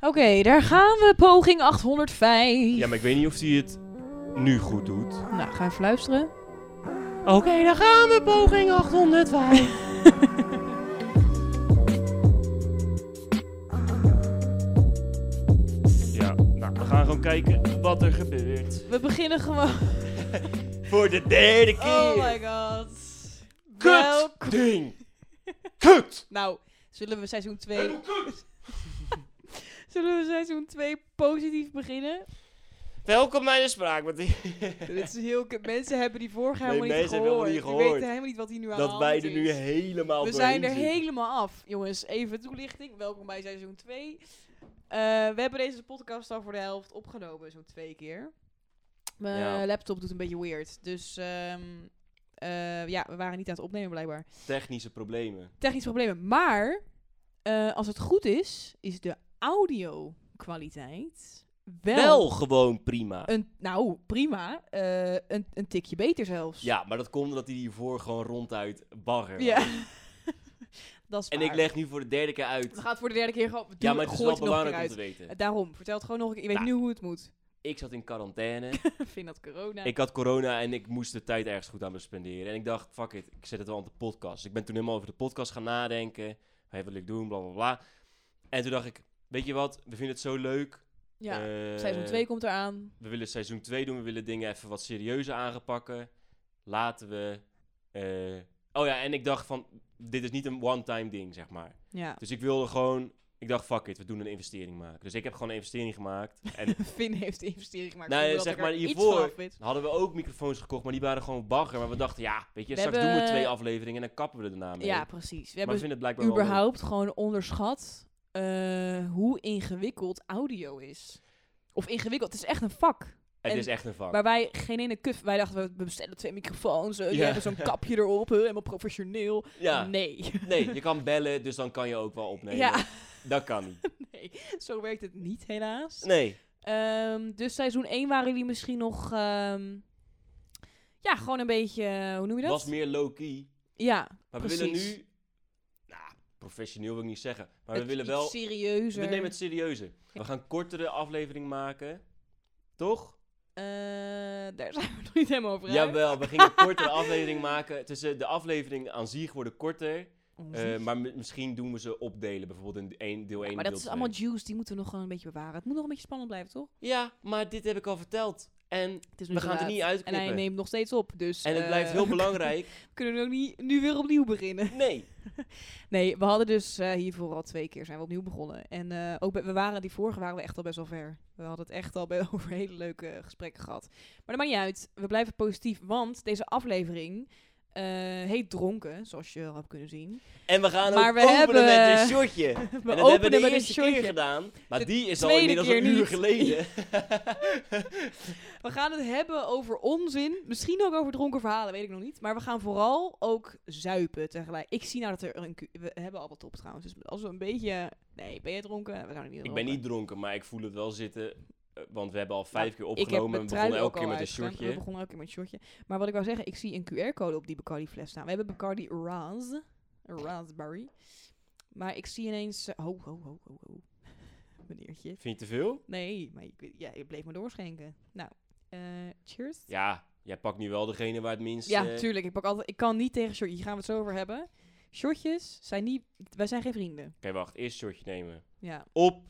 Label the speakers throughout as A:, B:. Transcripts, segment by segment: A: Oké, daar gaan we. Poging 805.
B: Ja, maar ik weet niet of hij het nu goed doet.
A: Nou, ga even luisteren.
B: Oké, dan gaan we poging 805. ja, nou, we gaan gewoon kijken wat er gebeurt.
A: We beginnen gewoon.
B: Voor de derde keer.
A: Oh my god.
B: Kut
A: Welk-
B: ding. Kut.
A: Nou, zullen we seizoen 2. zullen we seizoen 2 positief beginnen?
B: Welkom bij de spraak. want die-
A: Dit is heel kut. Mensen hebben die vorige
B: Nee,
A: helemaal niet
B: mensen hebben
A: gehoord.
B: helemaal niet
A: Die
B: gehoord.
A: weten helemaal niet wat hier nu aan de
B: dat
A: hand
B: wij er nu
A: is.
B: helemaal
A: We zijn er
B: doorheen zitten.
A: helemaal af. Jongens, even toelichting. Welkom bij seizoen 2. we hebben deze podcast al voor de helft opgenomen, zo'n twee keer. Mijn
B: Ja.
A: laptop doet een beetje weird. Dus ehm, eh, ja, we waren niet aan het opnemen blijkbaar.
B: Technische problemen.
A: Technische problemen. Maar eh, als het goed is, is de audio kwaliteit wel,
B: Wel gewoon prima.
A: Een, nou, prima. eh, een, een tikje beter zelfs.
B: Ja, maar dat komt omdat hij hiervoor gewoon ronduit bagger. was.
A: ja. Dat is
B: En
A: waar.
B: ik leg nu voor de derde keer uit.
A: We gaan het voor de derde keer gewoon...
B: Ja, maar het is wel belangrijk om
A: uit.
B: te weten.
A: Eh, Daarom, vertel het gewoon nog een keer. Je weet
B: Nou.
A: nu hoe het moet.
B: Ik zat in quarantaine.
A: Ik vind dat corona.
B: Ik had corona en ik moest de tijd ergens goed aan bespenderen. En ik dacht, fuck it, ik zet het wel op de podcast. Ik ben toen helemaal over de podcast gaan nadenken. Hey, wat wil ik doen, bla bla bla. En toen dacht ik, weet je wat, we vinden het zo leuk.
A: ja,
B: Eh,
A: seizoen 2 komt eraan.
B: We willen seizoen 2 doen, we willen dingen even wat serieuzer aangepakken. Laten we... eh, oh ja, en ik dacht van, dit is niet een one-time ding, zeg maar.
A: Ja,
B: Dus ik wilde gewoon... Ik dacht, fuck it, we doen een investering maken. Dus ik heb gewoon een investering gemaakt. En
A: Finn heeft de investering gemaakt.
B: Nou,
A: zonder
B: zeg
A: dat ik er
B: maar
A: iets
B: hiervoor-
A: van af weet.
B: hadden we ook microfoons gekocht, maar die waren gewoon bagger. Maar we dachten, ja, weet je,
A: We
B: straks doen
A: hebben-
B: we twee afleveringen en dan kappen we er daarna mee.
A: Ja, precies. We
B: maar we
A: hebben
B: vinden het blijkbaar wel leuk.
A: überhaupt gewoon onderschat eh, hoe ingewikkeld audio is. Of ingewikkeld, het is echt een vak.
B: Het
A: en-
B: is echt een vak.
A: Waar wij geen ene kuf... Wij dachten, we bestellen twee microfoons. eh, die
B: Ja.
A: hebben zo'n kapje erop. eh, Helemaal professioneel.
B: Ja, nee.
A: Nee.
B: je kan bellen, dus dan kan je ook wel opnemen.
A: Ja,
B: Dat kan niet.
A: nee. Zo werkt het niet, helaas.
B: Nee.
A: Ehm, dus seizoen 1 waren jullie misschien nog. ehm, ja, gewoon een beetje. eh, Hoe noem je dat?
B: was meer low-key.
A: ja,
B: Maar
A: Precies.
B: we willen nu... Nou, professioneel wil ik niet zeggen. Maar we
A: het
B: willen
A: iets
B: wel...
A: Serieuzer.
B: We nemen het serieuzer. We gaan kortere aflevering maken. Toch?
A: Eh, daar zijn we nog niet helemaal over. uit.
B: Jawel, we gingen kortere aflevering maken. Tussen de afleveringen aan zich worden korter.
A: Onzin.
B: eh, maar mi- misschien doen we ze opdelen. Bijvoorbeeld in één deel 1
A: Mhm. maar dat is allemaal juice, die moeten we nog gewoon een beetje bewaren. Het moet nog een beetje spannend blijven, toch?
B: Ja, maar dit heb ik al verteld. En
A: Het is nu
B: we
A: te
B: gaan het er
A: laat.
B: niet
A: En
B: uitknippen.
A: hij neemt nog steeds op, dus.
B: En het
A: eh,
B: blijft heel belangrijk.
A: Kunnen we ook niet nu weer opnieuw beginnen?
B: Nee.
A: Nee, we hadden dus eh, hiervoor al twee keer zijn we opnieuw begonnen. En eh, ook bij- we waren, die vorige waren we echt al best wel ver. We hadden het echt al bij, over hele leuke eh, gesprekken gehad. Maar dat maakt niet uit. We blijven positief, want deze aflevering eh, heet Dronken, zoals je al hebt kunnen zien.
B: En we gaan
A: Maar
B: ook
A: we
B: openen
A: hebben-
B: met een shotje.
A: We
B: en dat hebben we
A: openen
B: de
A: met een
B: eerste
A: shotje.
B: keer gedaan. Maar
A: De
B: die is al
A: tweede
B: inmiddels
A: keer
B: een uur
A: niet.
B: geleden.
A: We gaan het hebben over onzin, misschien ook over dronken verhalen, weet ik nog niet. Maar we gaan vooral ook zuipen tegelijk. Ik zie nou dat er een... ku- We hebben al wat op trouwens, dus als we een beetje... Nee, ben je dronken? We zijn niet
B: ik ben niet
A: dronken.
B: dronken, maar ik voel het wel zitten. eh, Want we hebben al vijf keer
A: Nou, Ik heb
B: opgenomen.
A: mijn
B: en we
A: trui
B: begonnen
A: ook
B: elke
A: al
B: keer met een
A: uitgedaan.
B: shotje.
A: We begonnen elke keer met een shotje. Maar wat ik wou zeggen, ik zie een QR-code op die Bacardi fles staan. We hebben Bacardi Raz. Raspberry. Maar ik zie ineens... eh, Ho, ho, ho, ho, ho. Meneertje.
B: Vind je te veel?
A: Nee, maar ik, ja, je bleef me doorschenken. Nou, eh, cheers.
B: Ja, jij pakt nu wel degene waar het minst...
A: Ja,
B: eh,
A: tuurlijk. Ik, pak altijd, ik kan niet tegen shotjes. Hier gaan we het zo over hebben. Shotjes zijn niet... Wij zijn geen vrienden.
B: Oké, wacht. Eerst shotje nemen.
A: Ja.
B: Op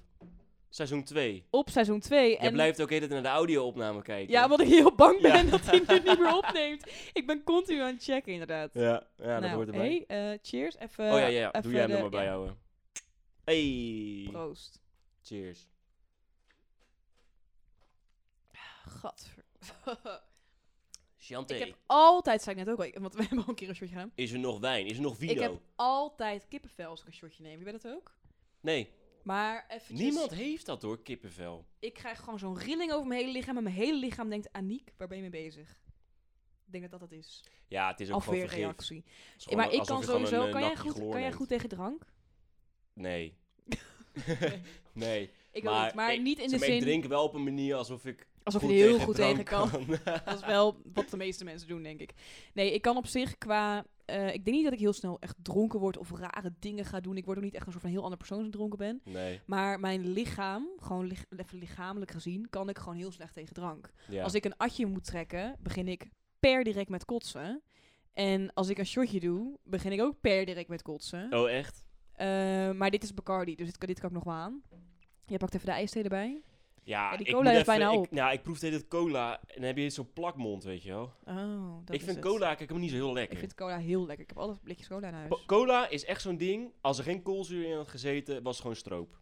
B: seizoen 2.
A: Op seizoen 2.
B: Jij blijft ook even naar de audio-opname kijken.
A: Ja, want ik heel bang
B: Ja.
A: ben dat hij dit niet meer opneemt. Ik ben continu aan het checken, inderdaad.
B: Ja, ja dat
A: nou,
B: hoort erbij.
A: hey, eh, cheers. Even.
B: oh ja, ja, ja.
A: even
B: doe jij
A: de-
B: hem er maar bij
A: ja,
B: houden. Hey.
A: Proost.
B: Cheers.
A: Gadver.
B: Chanté.
A: ik heb altijd, zei ik net ook al, ik- want we hebben al een keer een shotje gedaan.
B: Is er nog wijn? Is er nog
A: Ik
B: video?
A: heb altijd kippenvel als ik een shotje neem. Je bent het ook?
B: Nee,
A: Maar eventjes,
B: niemand heeft dat hoor, kippenvel.
A: ik krijg gewoon zo'n rilling over mijn hele lichaam. En mijn hele lichaam denkt, Aniek, waar ben je mee bezig? Ik denk dat dat het is.
B: Ja, het is ook gewoon vergif. Het
A: Afweerreactie.
B: is gewoon
A: maar ik
B: alsof
A: kan
B: je gewoon
A: sowieso,
B: een,
A: kan
B: eh,
A: jij,
B: napje
A: goed,
B: chloor
A: kan jij
B: neemt.
A: goed tegen drank?
B: Nee. nee.
A: Ik
B: Maar
A: maar, niet, maar
B: ik-
A: niet in de
B: Zeg maar,
A: zin...
B: Ik drink wel op een manier alsof ik
A: Alsof je
B: goed
A: er heel
B: tegen
A: goed
B: drank
A: tegen kan. Dat is wel wat de meeste mensen doen, denk ik. Nee, ik kan op zich qua eh, ik denk niet dat ik heel snel echt dronken word of rare dingen ga doen. Ik word ook niet echt een soort van heel ander persoon als ik dronken ben.
B: Nee.
A: Maar mijn lichaam, gewoon lich- even lichamelijk gezien, kan ik gewoon heel slecht tegen drank.
B: Ja.
A: Als ik een atje moet trekken, begin ik per direct met kotsen. En als ik een shotje doe, begin ik ook per direct met kotsen.
B: Oh, echt?
A: Eh, maar dit is Bacardi, dus dit kan, dit kan ik nog wel aan. Jij pakt even de ijsthee erbij.
B: Ja,
A: Ja, die
B: ik
A: cola
B: moet
A: heeft
B: even-
A: bijna
B: ik-
A: op.
B: Nou, ik proef steeds dat cola en dan heb je zo'n plakmond, weet je wel.
A: Oh, dat
B: ik
A: is
B: vind
A: het.
B: cola, kijk, ik hem niet zo heel
A: Ik
B: lekker.
A: vind cola heel lekker. Ik heb altijd blikjes cola in huis.
B: Po- Cola is echt zo'n ding, als er geen koolzuur in had gezeten, was het gewoon stroop.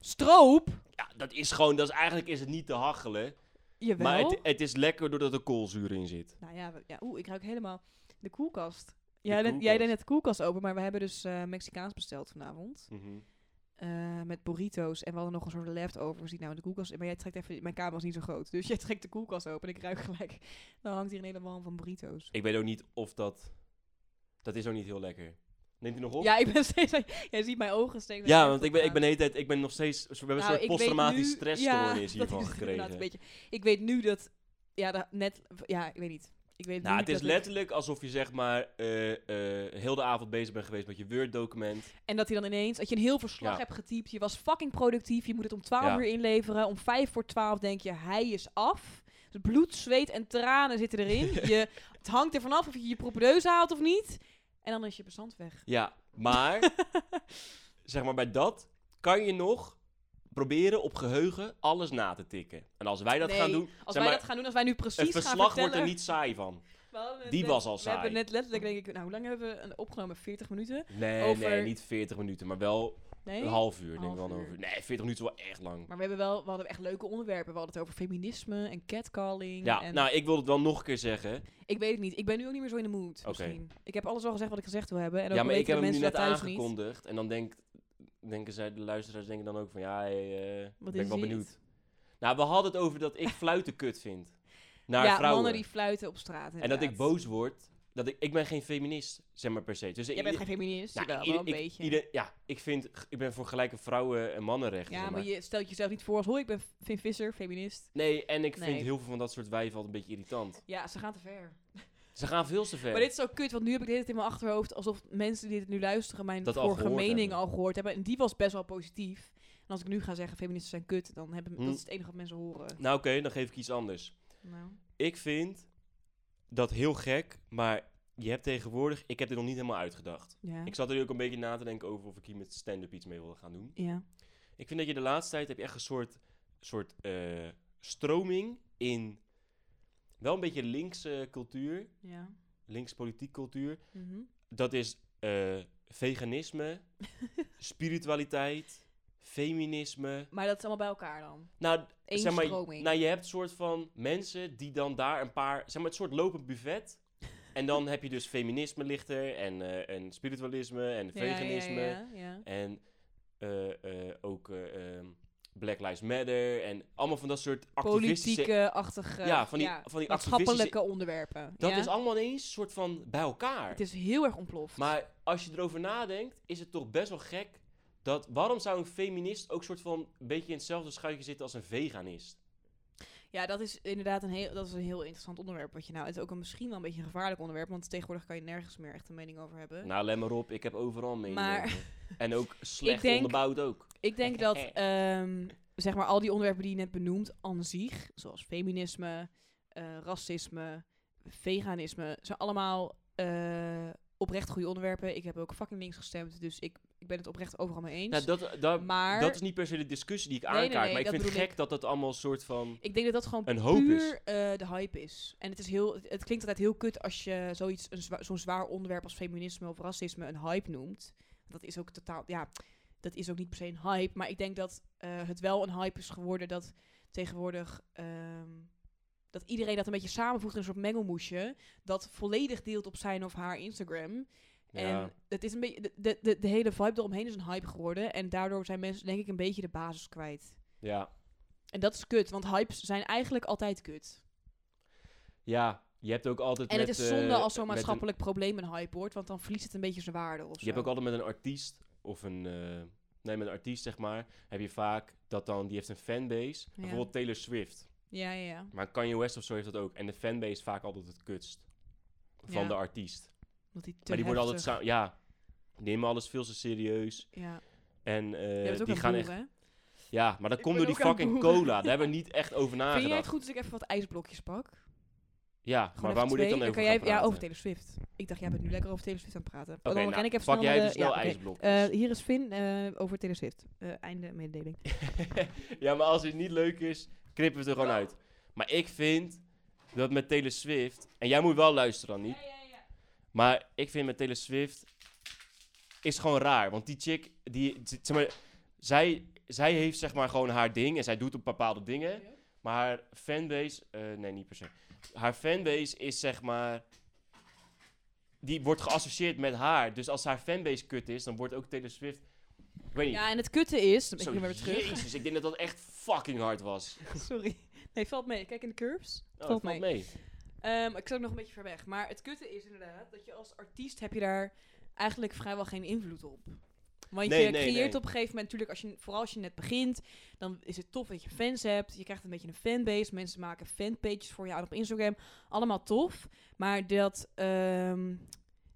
A: Stroop?
B: Ja, dat is gewoon, dat is, eigenlijk is het niet te hachelen.
A: Jawel.
B: Maar het, het is lekker doordat er koolzuur in zit.
A: Nou ja, we- ja oeh, ik ruik helemaal de koelkast.
B: De
A: Jij, deed- jij
B: koelkast.
A: deed net de koelkast open, maar we hebben dus eh, Mexicaans besteld vanavond. Eh, met burritos en we hadden nog een soort leftovers die nou in de koelkast... Maar jij trekt even... Mijn kamer is niet zo groot, dus jij trekt de koelkast open en ik ruik gelijk... Dan hangt hier een hele man van burritos.
B: Ik weet ook niet of dat, dat is ook niet heel lekker. Neemt u nog op?
A: Ja, ik ben steeds... aan- Jij ziet mijn ogen steeds...
B: Ja, want ik ben, ik ben de hele tijd, ik ben nog steeds, we hebben een
A: Nou,
B: soort
A: ik weet
B: posttraumatische
A: nu-
B: stressstoornis
A: ja, dat
B: hiervan
A: is het inderdaad
B: gekregen.
A: Een beetje. Ik weet nu dat... Ja, dat net... Ja, ik weet niet. Ik weet
B: Nou,
A: nu
B: het is
A: dat ik-
B: letterlijk alsof je zeg maar eh, eh, heel de avond bezig bent geweest met je Word-document.
A: En dat hij dan ineens, dat je een heel verslag
B: Ja.
A: hebt getypt, je was fucking productief, je moet het om 12
B: Ja.
A: uur inleveren. Om 5 voor 12 denk je, hij is af. Dus bloed, zweet en tranen zitten erin. je, het hangt er vanaf of je je propedeuse haalt of niet. En dan is je bestand weg.
B: Ja, maar zeg maar bij dat kan je nog proberen op geheugen alles na te tikken. En als wij dat
A: Nee,
B: gaan doen,
A: Als
B: zeg
A: wij
B: maar,
A: dat gaan doen, als wij nu
B: het
A: precies gaan
B: verslag
A: vertellen...
B: wordt er niet saai van.
A: We hadden het
B: die
A: net-
B: was al
A: We hebben
B: saai.
A: net letterlijk, denk ik, nou, hoe lang hebben we een- opgenomen? 40 minuten?
B: Nee,
A: Over-
B: nee, niet 40 minuten, maar wel
A: Nee?
B: een half uur. Denk ik wel
A: Half
B: een half
A: uur.
B: uur. Nee, 40 minuten is wel echt lang.
A: Maar we hebben wel, we hadden echt leuke onderwerpen. We hadden het over feminisme en catcalling.
B: Ja,
A: en
B: nou, ik wil het wel nog een keer zeggen.
A: Ik weet het niet. Ik ben nu ook niet meer zo in de mood. Misschien. Ik heb alles al gezegd wat ik gezegd wil hebben. En ook
B: Ja, maar
A: weten
B: ik heb
A: de
B: hem nu
A: mensen
B: net
A: daar thuis niet.
B: aangekondigd. En dan denkt, denken zij, de luisteraars denken dan ook van, ja, hey, eh, ben
A: is
B: ik wel
A: dit?
B: benieuwd. Nou, we hadden het over dat ik fluiten kut vind. Naar
A: ja,
B: vrouwen.
A: mannen die fluiten op straat.
B: en dat ik
A: inderdaad.
B: boos word. Dat ik, ik ben geen feminist, zeg maar per se. Dus
A: Jij bent geen feminist.
B: nou,
A: jawel,
B: ieder-
A: wel een
B: ik-
A: beetje.
B: ieder- ja, ik vind, ik ben voor gelijke vrouwen en mannenrechten.
A: ja,
B: zeg
A: maar
B: maar.
A: je stelt jezelf niet voor als... Hoi, ik ben Finn Visser, feminist.
B: Nee, en ik vind
A: Nee.
B: heel veel van dat soort wijven altijd een beetje irritant.
A: Ja, ze gaan te ver.
B: Ze gaan veel te ver.
A: Maar dit is zo kut, want nu heb ik dit in mijn achterhoofd... alsof mensen die dit nu luisteren mijn
B: Dat al
A: vorige
B: gehoord
A: mening
B: hebben.
A: al gehoord hebben. En die was best wel positief. En als ik nu ga zeggen, feministen zijn kut... dan hebben,
B: Hm.
A: dat is het enige wat mensen horen.
B: Nou oké, dan geef ik iets anders.
A: Nou.
B: Ik vind dat heel gek, maar je hebt tegenwoordig... Ik heb dit nog niet helemaal uitgedacht.
A: Ja.
B: Ik zat er nu ook een beetje na te denken over of ik hier met stand-up iets mee wilde gaan doen.
A: ja.
B: Ik vind dat je de laatste tijd heb je echt een soort, soort eh, stroming in wel een beetje linkse cultuur,
A: Ja.
B: links politiek cultuur.
A: Mhm.
B: Dat is eh, veganisme, spiritualiteit, feminisme.
A: Maar dat is allemaal bij elkaar dan.
B: Nou,
A: Eén
B: zeg maar,
A: stroming.
B: nou, je hebt soort van mensen die dan daar een paar, zeg maar, het soort lopend buffet. En dan heb je dus feminisme lichter en, eh, en spiritualisme en
A: Ja, ja,
B: veganisme.
A: Ja, ja,
B: En eh, eh, ook eh, ehm, Black Lives Matter en allemaal van dat soort activistische...
A: Politieke-achtige,
B: Ja, van die, van die activistische...
A: maatschappelijke onderwerpen.
B: Dat
A: ja.
B: is allemaal ineens soort van bij elkaar.
A: Het is heel erg ontploft.
B: Maar als je erover nadenkt, is het toch best wel gek dat... Waarom zou een feminist ook soort van een beetje in hetzelfde schuitje zitten als een veganist?
A: ja, dat is inderdaad een heel, dat is een heel interessant onderwerp. Wat je nou, het is ook een, misschien wel een beetje een gevaarlijk onderwerp, want tegenwoordig kan je nergens meer echt een mening over hebben.
B: Nou, let maar op, ik heb overal mening
A: Maar-
B: over. En ook slecht
A: denk-
B: onderbouwd ook.
A: Ik denk dat ehm, zeg maar al die onderwerpen die je net benoemt, aan zich, zoals feminisme, eh, racisme, veganisme, zijn allemaal eh, oprecht goede onderwerpen. Ik heb ook fucking links gestemd, dus ik, ik ben het oprecht overal mee eens.
B: Nou, dat, dat,
A: maar
B: dat is niet per se de discussie die ik
A: nee,
B: aankaart,
A: nee,
B: maar ik
A: dat
B: vind het
A: bedoel
B: gek dat dat allemaal een soort van...
A: Ik denk dat dat gewoon
B: Een hoop
A: puur
B: is.
A: eh, de hype is. En het, is heel, het klinkt altijd heel kut als je zoiets, een zwa- zo'n zwaar onderwerp als feminisme of racisme een hype noemt. Dat is ook totaal, ja, dat is ook niet per se een hype. Maar ik denk dat eh, het wel een hype is geworden dat tegenwoordig ehm, dat iedereen dat een beetje samenvoegt in een soort mengelmoesje. Dat volledig deelt op zijn of haar Instagram.
B: ja.
A: En het is een beetje, de, de, de, de hele vibe eromheen is een hype geworden. En daardoor zijn mensen denk ik een beetje de basis kwijt.
B: Ja,
A: En dat is kut, want hypes zijn eigenlijk altijd kut.
B: ja, je hebt ook altijd
A: En
B: met,
A: het is zonde
B: eh,
A: als zo'n
B: met een-
A: maatschappelijk probleem een hype wordt, want dan verliest het een beetje zijn waarde of zo.
B: Je hebt ook altijd met een artiest of een... eh, nee, met een artiest zeg maar, heb je vaak dat dan... Die heeft een fanbase, bijvoorbeeld Taylor Swift.
A: Ja, ja, ja.
B: Maar Kanye West of zo heeft dat ook. En de fanbase is vaak altijd het kutst van
A: Ja.
B: de artiest.
A: Omdat die te
B: maar die worden altijd
A: heftig-
B: samen... Ja, die nemen alles veel te serieus.
A: Ja,
B: En eh,
A: Jij bent ook
B: die
A: aan
B: gaan
A: het
B: echt...
A: boeren, hè?
B: Ja, maar dat
A: Ik
B: komt
A: ben
B: door die
A: ook aan het
B: fucking
A: boeren.
B: cola. Daar hebben we niet echt over
A: Vind jij
B: nagedacht.
A: het goed als ik even wat ijsblokjes pak? Gewoon
B: Ja, maar
A: even
B: waar moet
A: twee.
B: ik dan over
A: kan jij,
B: gaan
A: Ja,
B: praten?
A: over Taylor Swift. Ik dacht, jij bent nu lekker over Taylor Swift aan het praten.
B: Oké,
A: dan
B: nou,
A: ren ik even
B: pak
A: snel
B: jij
A: naar
B: even
A: de-
B: snel
A: ja, oké.
B: ijsblokjes.
A: Eh, hier is Finn eh, over Taylor Swift. Eh, einde mededeling.
B: ja, maar als het niet leuk is, knippen we het er gewoon uit. Maar ik vind dat met Taylor Swift... En jij moet wel luisteren dan, niet? Maar ik vind met Taylor Swift... Is gewoon raar. Want die chick, die... z- Zeg maar, zij, zij heeft zeg maar gewoon haar ding. En zij doet op bepaalde dingen. Maar haar fanbase... eh, nee, niet per se. Haar fanbase is zeg maar... Die wordt geassocieerd met haar. Dus als haar fanbase kut is, dan wordt ook Taylor Swift... Ik weet niet.
A: Ja, en het kutte is... Dan ben
B: Zo,
A: ik weer weer terug.
B: Jezus, ik denk dat dat echt fucking hard was. Oh,
A: Sorry. Nee, valt mee. Kijk in de curves.
B: dat
A: valt
B: Oh, valt
A: mee.
B: mee.
A: Ehm, ik zat ook nog een beetje ver weg. Maar het kutte is inderdaad dat je als artiest heb je daar eigenlijk vrijwel geen invloed op. Want
B: Nee,
A: je
B: nee,
A: creëert
B: nee.
A: op een gegeven moment natuurlijk, als je, vooral als je net begint, dan is het tof dat je fans hebt. Je krijgt een beetje een fanbase. Mensen maken fanpages voor jou op Instagram. Allemaal tof. Maar dat ehm,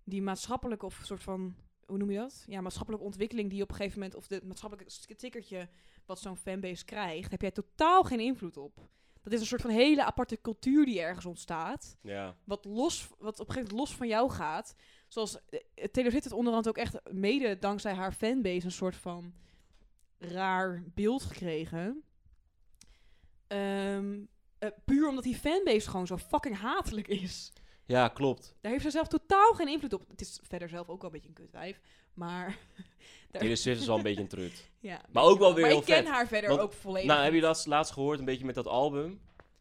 A: die maatschappelijke of soort van, hoe noem je dat? Ja, maatschappelijke ontwikkeling die je op een gegeven moment, of het maatschappelijke st- tikkertje wat zo'n fanbase krijgt, heb jij totaal geen invloed op. Dat is een soort van hele aparte cultuur die ergens ontstaat
B: Ja.
A: wat, los, wat op een gegeven moment los van jou gaat. Zoals eh, eh, Taylor Swift het onderhand ook echt mede dankzij haar fanbase een soort van raar beeld gekregen. Ehm, eh, puur omdat die fanbase gewoon zo fucking hatelijk is.
B: ja, klopt.
A: Daar heeft ze zelf totaal geen invloed op. Het is verder zelf ook wel een beetje een kutwijf. Maar Daar-
B: Taylor Swift is wel een beetje een trut.
A: ja.
B: Maar ook wel weer
A: Maar
B: heel
A: ik ken
B: vet.
A: haar verder
B: Want-
A: ook volledig.
B: Nou, heb je dat laatst gehoord, een beetje met dat album?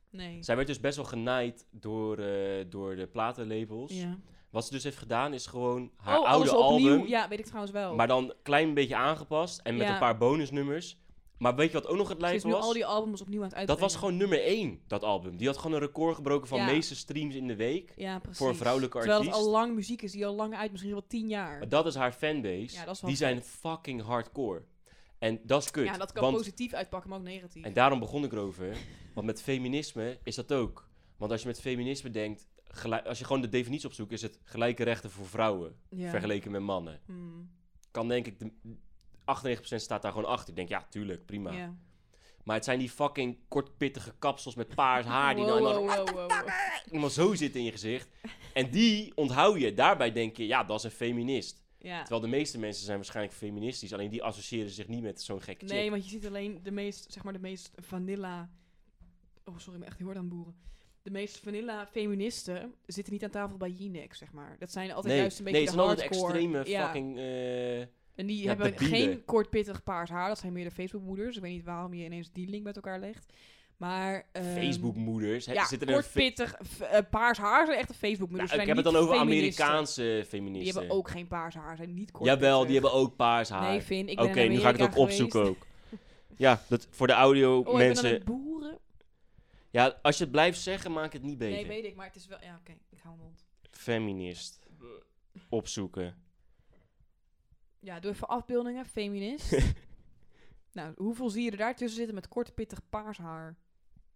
A: Nee.
B: Zij werd dus best wel genaaid door, eh, door de platenlabels.
A: Ja.
B: Wat ze dus heeft gedaan, is gewoon haar
A: oh,
B: oude
A: alles opnieuw.
B: album,
A: Ja, weet ik trouwens wel.
B: maar dan een klein beetje aangepast en met
A: Ja.
B: een paar bonusnummers. Maar weet je wat ook nog het
A: Ze is
B: lijstje
A: nu al
B: was?
A: die albums opnieuw aan het
B: Dat
A: uitbrengen.
B: was gewoon nummer 1, dat album. Die had gewoon een record gebroken van
A: Ja.
B: meeste streams in de week.
A: Ja, precies.
B: een vrouwelijke
A: Terwijl het
B: artiest.
A: al lang muziek is die al lang uit, misschien wel tien jaar.
B: Maar dat is haar fanbase.
A: Ja, dat is wel
B: die zijn fucking hardcore. En dat is kut.
A: Ja, dat kan
B: want,
A: positief uitpakken, maar ook negatief.
B: En daarom begon ik erover. Want met feminisme is dat ook. Want als je met feminisme denkt, gelijk- als je gewoon de definitie opzoekt, is het gelijke rechten voor vrouwen
A: ja.
B: vergeleken met mannen.
A: Hmm,
B: Kan denk ik, de, 98% staat daar gewoon achter. Ik denk, ja, tuurlijk, prima.
A: ja.
B: Maar het zijn die fucking kortpittige kapsels met paars haar die
A: Wow,
B: nou helemaal
A: wow, wow, wow, wow.
B: helemaal zo zitten in je gezicht. En die onthoud je. Daarbij denk je, ja, dat is een feminist.
A: Ja.
B: Terwijl de meeste mensen zijn waarschijnlijk feministisch, alleen die associëren zich niet met zo'n gekke chick.
A: Nee, want je ziet alleen de meest, zeg maar, de meest vanilla... Oh, sorry, ik ben echt heel hard aan het boeren. De meest vanilla feministen zitten niet aan tafel bij Jinek, zeg maar. Dat zijn altijd
B: nee,
A: juist een beetje
B: nee, het
A: de
B: zijn altijd
A: hardcore.
B: extreme
A: Ja. Ehm,
B: fucking... eh,
A: En die
B: Ja,
A: hebben
B: debielen.
A: geen kortpittig paars haar. Dat zijn meer de Facebookmoeders. Ik weet niet waarom je ineens die link met elkaar legt. Maar... ehm,
B: Facebook-moeders. hè,
A: ja,
B: zitten er
A: kort,
B: fe-
A: pittig, v- eh, paars haar zijn echt een Dus Facebook.
B: Nou,
A: moeder
B: ik heb het dan over Amerikaanse feministen.
A: Die hebben ook geen paars haar, zijn niet kort.
B: Jawel, die
A: pittig.
B: hebben ook paars haar.
A: Nee, Vin, ik
B: Oké,
A: ben in
B: nu ga ik het ook
A: Amerika
B: opzoeken
A: geweest.
B: ook. Ja, dat, voor de audio
A: Oh, ik ben aan
B: mensen.
A: het boeren.
B: Ja, als je het blijft zeggen, maak het niet beter.
A: Nee, weet ik, maar het is wel... Ja, oké, ik hou mijn mond.
B: Feminist. Opzoeken.
A: Ja, doe even afbeeldingen, feminist. nou, hoeveel zie je er daartussen zitten met kort, pittig paars haar?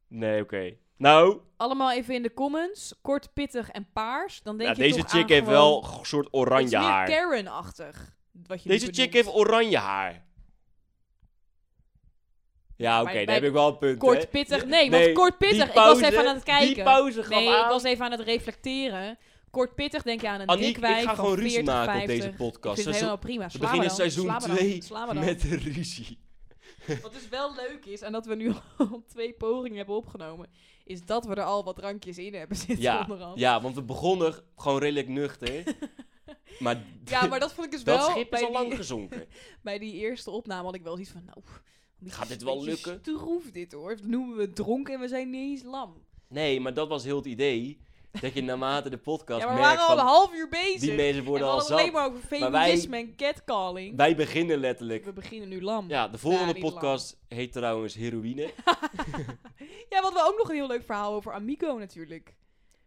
B: Nee, oké. Nou,
A: Allemaal even in de comments. Kort, pittig en paars. Dan denk
B: ja,
A: je
B: nou, deze
A: toch
B: chick
A: aan
B: heeft
A: gewoon-
B: wel een soort
A: Het is
B: oranje
A: meer
B: haar.
A: Karen-achtig. wat je nu
B: Deze chick
A: benoemt.
B: heeft oranje haar. Ja, oké,
A: bij-
B: daar heb ik wel een punt. hè.
A: Kort pittig. Nee,
B: Nee,
A: want kort
B: die
A: pittig. ik
B: pauze-
A: was even aan het kijken.
B: Die pauze gaf
A: nee,
B: aan.
A: ik was even aan het reflecteren. Kort pittig denk je aan een
B: Aniek,
A: dik wijf
B: ik ga
A: van
B: gewoon ruzie
A: 40,
B: maken op
A: 50.
B: deze podcast.
A: Ik vind het
B: Seizoen-
A: helemaal prima.
B: we
A: Sla me
B: beginnen
A: dan.
B: seizoen
A: Sla me dan.
B: 2
A: Sla me dan.
B: met de ruzie.
A: Wat dus wel leuk is, en dat we nu al twee pogingen hebben opgenomen, is dat we er al wat drankjes in hebben zitten
B: Ja,
A: onderhand.
B: ja, want we begonnen g- gewoon redelijk nuchter. maar
A: Ja, maar dat vond ik dus
B: dat
A: wel...
B: schip
A: bij
B: is al
A: die-
B: lang gezonken.
A: bij die eerste opname had ik wel zoiets van, nou... een beetje-
B: Gaat dit wel
A: beetje
B: lukken?
A: Stroef dit hoor. Dat noemen we dronken en we zijn niet eens lam.
B: Nee, maar dat was heel het idee. Dat je naarmate de podcast
A: ja, maar we
B: merkt
A: waren al
B: van...
A: een half uur bezig.
B: die mensen worden
A: en we
B: al
A: hadden het alleen
B: zat.
A: maar over
B: Maar wij-
A: feminisme en catcalling.
B: Wij beginnen letterlijk.
A: We beginnen nu lam. Ja.
B: Ja, de volgende
A: niet
B: podcast heet trouwens Heroïne.
A: want we ook nog een heel leuk verhaal over Amigo natuurlijk.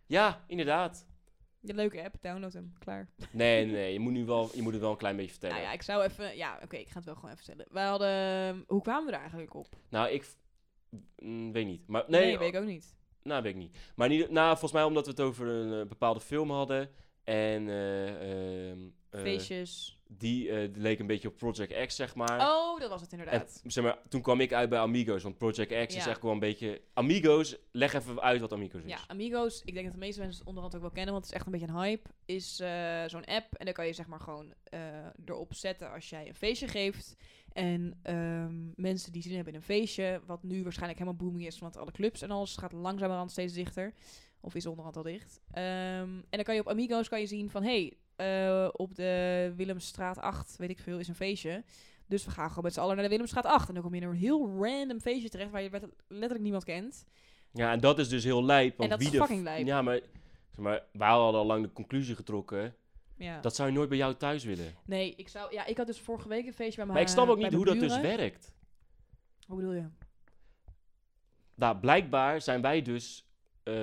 B: Ja, inderdaad.
A: De leuke app, download hem. Klaar.
B: Nee, nee, nee, je moet, nu wel, je moet het wel een klein beetje vertellen.
A: Nou ja, ik zou even... Ja, oké, ik ga het wel gewoon even vertellen. We hadden... ehm, Hoe kwamen we er eigenlijk op?
B: Nou, ik... v- mm, weet niet. Maar nee,
A: weet ik ook niet.
B: Nou, weet ik niet. Maar niet, nou, volgens mij omdat we het over een eh, bepaalde film hadden. En eh, ehm, eh,
A: Feestjes.
B: die eh, leek een beetje op Project X, zeg maar.
A: oh, dat was het
B: En,
A: inderdaad.
B: zeg maar, toen kwam ik uit bij Amigos, want Project X is
A: Ja.
B: echt wel een beetje... Amigos, leg even uit wat Amigos is.
A: Ja, Amigos, ik denk dat de meeste mensen het onderhand ook wel kennen, want het is echt een beetje een hype. Is eh, zo'n app en daar kan je zeg maar gewoon eh, erop zetten als jij een feestje geeft. En ehm, mensen die zin hebben in een feestje, wat nu waarschijnlijk helemaal booming is, want alle clubs en alles gaat langzamerhand steeds dichter. Of is onderhand al dicht. Ehm, en dan kan je op Amigos kan je zien van, hey, eh, op de Willemstraat 8, weet ik veel, is een feestje. Dus we gaan gewoon met z'n allen naar de Willemstraat 8. En dan kom je in een heel random feestje terecht waar je wet- letterlijk niemand kent.
B: Ja, en dat is dus heel lijp. Want
A: dat
B: wie
A: is
B: de f-
A: fucking lijp.
B: Ja, maar, zeg maar wij hadden al lang de conclusie getrokken.
A: Ja.
B: Dat zou je nooit bij jou thuis willen.
A: Nee, ik zou. Ja, ik had dus vorige week een feestje bij mijn.
B: maar ik snap ook
A: bij
B: niet hoe
A: mijn
B: dat dus
A: buren.
B: werkt.
A: Hoe bedoel je?
B: Nou, blijkbaar zijn wij dus... eh,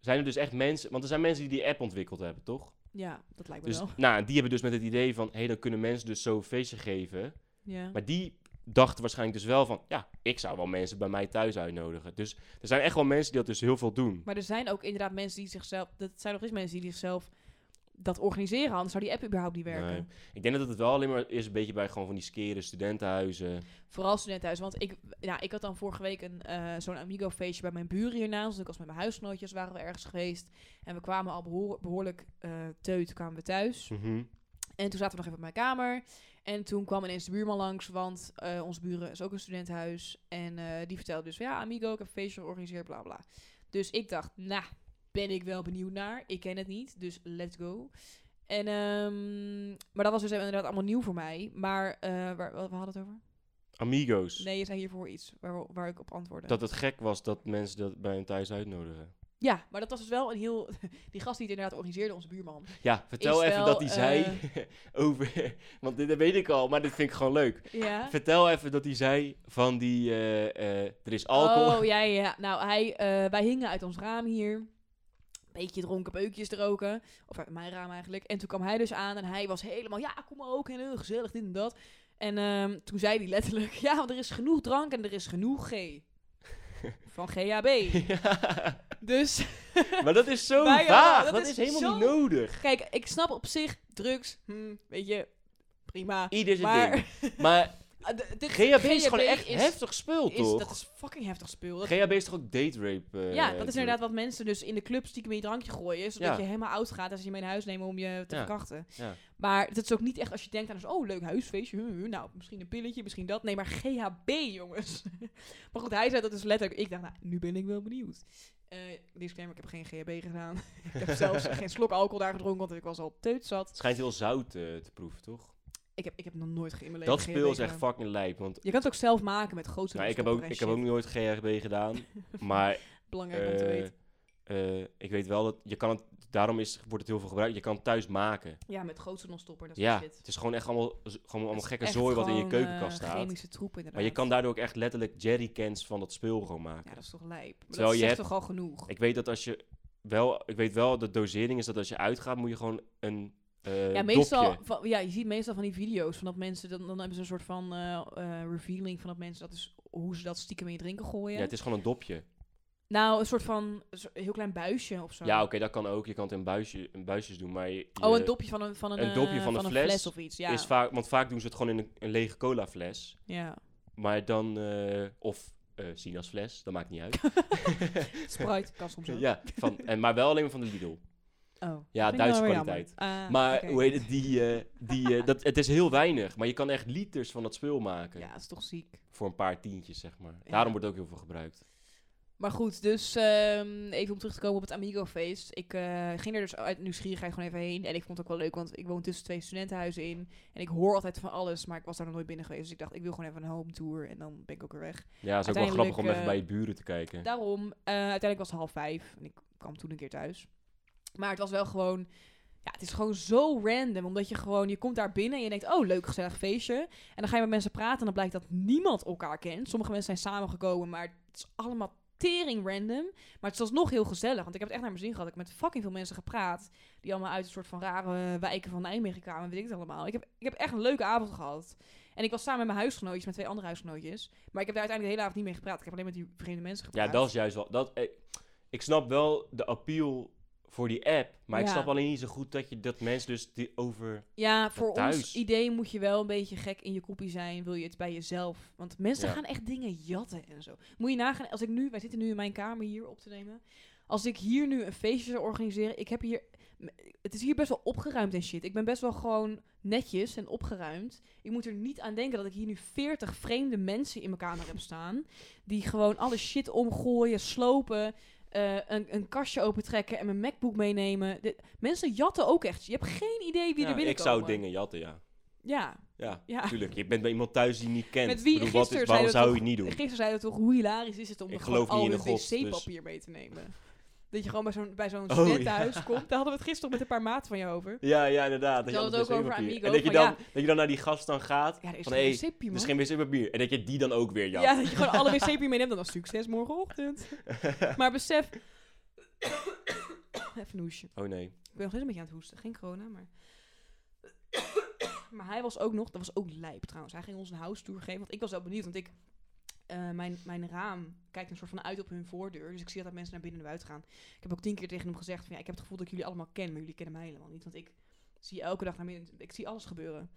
B: zijn er dus echt mensen... Want er zijn mensen die die app ontwikkeld hebben, toch?
A: Ja, dat lijkt me
B: Dus,
A: wel.
B: nou, die hebben dus met het idee van... Hé, dan kunnen mensen dus zo een feestje geven.
A: Ja.
B: Maar die dachten waarschijnlijk dus wel van... Ja, ik zou wel mensen bij mij thuis uitnodigen. Dus er zijn echt wel mensen die dat dus heel veel doen.
A: Maar er zijn ook inderdaad mensen die zichzelf. Dat zijn nog eens mensen die zichzelf dat organiseren. Anders zou die app überhaupt niet werken.
B: Nee. Ik denk dat het wel alleen maar is een beetje bij gewoon van die skere studentenhuizen.
A: Vooral studentenhuis. Want ik, ja, ik had dan vorige week een, eh, zo'n amigo-feestje bij mijn buren hiernaast. Dus ik was met mijn huisgenootjes, waren we ergens geweest. En we kwamen al behoor- behoorlijk eh, teut, kwamen we thuis.
B: Mhm.
A: En toen zaten we nog even op mijn kamer. En toen kwam ineens de buurman langs, want eh onze buren is ook een studentenhuis. En eh, die vertelde dus, van, ja, amigo, ik heb een feestje georganiseerd, bla bla. Dus ik dacht, nou, ben ik wel benieuwd naar. Ik ken het niet, dus let's go. En, ehm, maar dat was dus inderdaad allemaal nieuw voor mij. Maar eh, waar, we hadden het over?
B: Amigos.
A: Nee, je zei hiervoor iets waar, waar ik op antwoordde.
B: Dat het gek was dat mensen dat bij hun thuis uitnodigen.
A: Ja, maar dat was dus wel een heel... Die gast die het inderdaad organiseerde, onze buurman.
B: Ja, vertel
A: Is
B: even
A: wel, eh,
B: dat hij zei over... Want dit weet ik al, maar dit vind ik gewoon leuk.
A: Ja.
B: Vertel even dat hij zei van die... eh, eh, er is alcohol.
A: Oh, ja, ja. ja. Nou, hij, eh, wij hingen uit ons raam hier. Beetje dronken peukjes te roken. Of uit mijn raam eigenlijk. En toen kwam hij dus aan en hij was helemaal... Ja, kom maar ook. En heel gezellig, dit en dat. En ehm, toen zei hij letterlijk... Ja, want er is genoeg drank en er is genoeg G. Van GHB.
B: Ja.
A: Dus...
B: maar dat is zo
A: Wij, eh,
B: vaag.
A: dat
B: Dat,
A: is
B: is, helemaal
A: zo-
B: niet nodig.
A: Kijk, ik snap op zich drugs. hm, weet je, prima.
B: Ieder zijn
A: Maar...
B: ding. Maar
A: Ah, de- dit-
B: GHB is gewoon echt
A: is-
B: heftig spul,
A: is-
B: toch?
A: Dat is fucking heftig spul. Dat
B: GHB is toch ook date rape? eh,
A: Ja, dat is
B: drug?
A: inderdaad wat mensen dus in de club stiekem in je drankje gooien. Zodat
B: Ja.
A: je helemaal oud gaat als ze je mee naar huis nemen om je te
B: Ja.
A: verkrachten.
B: Ja.
A: Maar dat is ook niet echt als je denkt aan zo'n oh, leuk huisfeestje. huh, huh, nou, misschien een pilletje, misschien dat. Nee, maar GHB, jongens. maar goed, hij zei dat is letterlijk. Ik dacht, nou, nu ben ik wel benieuwd. Eh disclaimer, ik heb geen GHB gedaan. ik heb zelfs geen slok alcohol daar gedronken, want ik was al teutzat.
B: Het schijnt heel zout eh, te proeven, toch?
A: Ik heb, ik heb nog nooit in mijn leven
B: Dat
A: GHB
B: speel is echt
A: gedaan.
B: fucking lijp. Want
A: Je kan het ook zelf maken met grote
B: nou, ik, heb ook, ik heb ook nooit GHB gedaan. maar
A: Belangrijk om te
B: eh,
A: weten.
B: eh, ik weet wel dat je kan het. Daarom is, wordt het heel veel gebruikt. Je kan het thuis maken.
A: Ja, met gootsenonstopper, dat is
B: Ja,
A: shit.
B: het is gewoon echt allemaal, z- gewoon allemaal
A: Dat is
B: gekke
A: echt
B: zooi wat in je
A: gewoon,
B: keukenkast
A: eh,
B: staat.
A: chemische troep inderdaad.
B: Maar je kan daardoor ook echt letterlijk jerrycans van dat spul gewoon
A: Ja,
B: maken.
A: dat is toch lijp. Maar
B: Terwijl
A: dat
B: je
A: is echt
B: hebt-
A: toch al genoeg.
B: Ik weet dat als je wel, ik weet wel dat dosering is dat als je uitgaat moet je gewoon een eh
A: ja, meestal,
B: dopje.
A: van- ja, je ziet meestal van die video's van dat mensen, dan, dan hebben ze een soort van eh, eh, revealing van dat mensen, dat is hoe ze dat stiekem in je drinken gooien.
B: Ja, het is gewoon een dopje.
A: Nou, een soort van een soort- heel klein buisje of zo.
B: Ja, oké, dat kan ook. Je kan het in, buisje, in buisjes doen, maar je,
A: Oh,
B: je
A: een dopje van een, van een,
B: een dopje
A: eh,
B: van een
A: fles.
B: fles
A: of iets. Ja.
B: is vaak, want vaak doen ze het gewoon in een, een lege cola fles.
A: ja.
B: Maar dan, eh, of eh sinasfles, dat maakt niet uit.
A: Sprite, kan soms ook.
B: ja, van, en, maar wel alleen maar van de Lidl.
A: Oh, dat
B: Ja,
A: vind ik wel
B: Duitse
A: weer
B: kwaliteit.
A: jammer. Ah,
B: maar
A: oké.
B: hoe heet het, die, eh, die, eh, dat, het is heel weinig. Maar je kan echt liters van dat spul maken.
A: Ja, dat is toch ziek.
B: Voor een paar tientjes, zeg maar.
A: Ja.
B: Daarom wordt het ook heel veel gebruikt.
A: Maar goed, dus ehm, even om terug te komen op het Amigo-feest. Ik eh, ging er dus uit nieuwsgierigheid gewoon even heen. En ik vond het ook wel leuk, want ik woon tussen twee studentenhuizen in. En ik hoor altijd van alles, maar ik was daar nog nooit binnen geweest. Dus ik dacht, ik wil gewoon even een home tour en dan ben ik ook weer weg.
B: Ja, het is ook wel grappig om
A: Uiteindelijk, eh,
B: even bij je buren te kijken.
A: Daarom, eh, uiteindelijk was het half vijf. En ik kwam toen een keer thuis. Maar het was wel gewoon... Ja, het is gewoon zo random. Omdat je gewoon... Je komt daar binnen en je denkt... Oh, leuk, gezellig feestje. En dan ga je met mensen praten. En dan blijkt dat niemand elkaar kent. Sommige mensen zijn samengekomen. Maar het is allemaal tering random. Maar het is alsnog heel gezellig. Want ik heb het echt naar mijn zin gehad. Ik heb met fucking veel mensen gepraat. Die allemaal uit een soort van rare eh, wijken van Nijmegen kwamen. en Weet ik het allemaal. Ik heb, ik heb echt een leuke avond gehad. En ik was samen met mijn huisgenootjes. Met twee andere huisgenootjes. Maar ik heb daar uiteindelijk de hele avond niet mee gepraat. Ik heb alleen met die vreemde mensen gepraat.
B: Ja, dat is juist wel... Dat, eh, ik snap wel de appeal voor die app. Maar ik
A: Ja.
B: snap alleen niet zo goed dat je dat mensen dus die over.
A: Ja, voor ons
B: thuis.
A: idee moet je wel een beetje gek in je koppie zijn. Wil je het bij jezelf? Want mensen
B: Ja.
A: gaan echt dingen jatten en zo. Moet je nagaan, als ik nu, wij zitten nu in mijn kamer hier op te nemen. Als ik hier nu een feestje zou organiseren, ik heb hier, m- het is hier best wel opgeruimd en shit. Ik ben best wel gewoon netjes en opgeruimd. Ik moet er niet aan denken dat ik hier nu 40 vreemde mensen in mijn kamer heb staan. Die gewoon alle shit omgooien, slopen, eh, een, een kastje opentrekken en mijn MacBook meenemen. Dit- mensen jatten ook echt. Je hebt geen idee wie
B: Ja,
A: er binnenkomen.
B: ik zou dingen jatten, ja.
A: Ja,
B: Ja,
A: ja.
B: tuurlijk. Je bent bij iemand thuis die je niet kent.
A: Met wie
B: Ik bedoel, wat is-
A: gisteren
B: waarom
A: zeiden we
B: zou je het niet doen?
A: Gisteren zeiden we toch, hoe hilarisch is het om
B: Ik
A: er
B: geloof
A: gewoon al
B: niet in
A: een
B: een god, dus-
A: wc-papier mee te nemen. Dat je gewoon bij zo'n bij zo'n
B: Oh,
A: studentenhuis
B: ja.
A: komt. Daar hadden we het gisteren met een paar maten van je over.
B: Ja, ja, inderdaad. Dat
A: Ze
B: je
A: hadden het
B: altijd
A: ook
B: wc-papier-
A: over Amigo,
B: En dat je,
A: van
B: dan,
A: ja.
B: dat je dan naar die gast dan gaat.
A: Ja, er is
B: Van,
A: geen
B: hey,
A: wc-papier, man.
B: Dus geen wc-papier. En dat je die dan ook weer jat.
A: Ja, dat je gewoon alle wc-papier meeneemt. Dan was succes morgenochtend. Maar besef... Even een hoesje.
B: Oh nee.
A: Ik ben nog steeds een beetje aan het hoesten. Geen corona, maar... maar hij was ook nog... Dat was ook lijp trouwens. Hij ging ons een house tour geven. Want ik was wel benieuwd. Want ik... eh, mijn, mijn raam kijkt een soort van uit op hun voordeur. Dus ik zie altijd mensen naar binnen en naar buiten gaan. Ik heb ook tien keer tegen hem gezegd... Van, ja, ik heb het gevoel dat ik jullie allemaal ken. Maar jullie kennen mij helemaal niet. Want ik zie elke dag naar binnen... Ik zie alles gebeuren.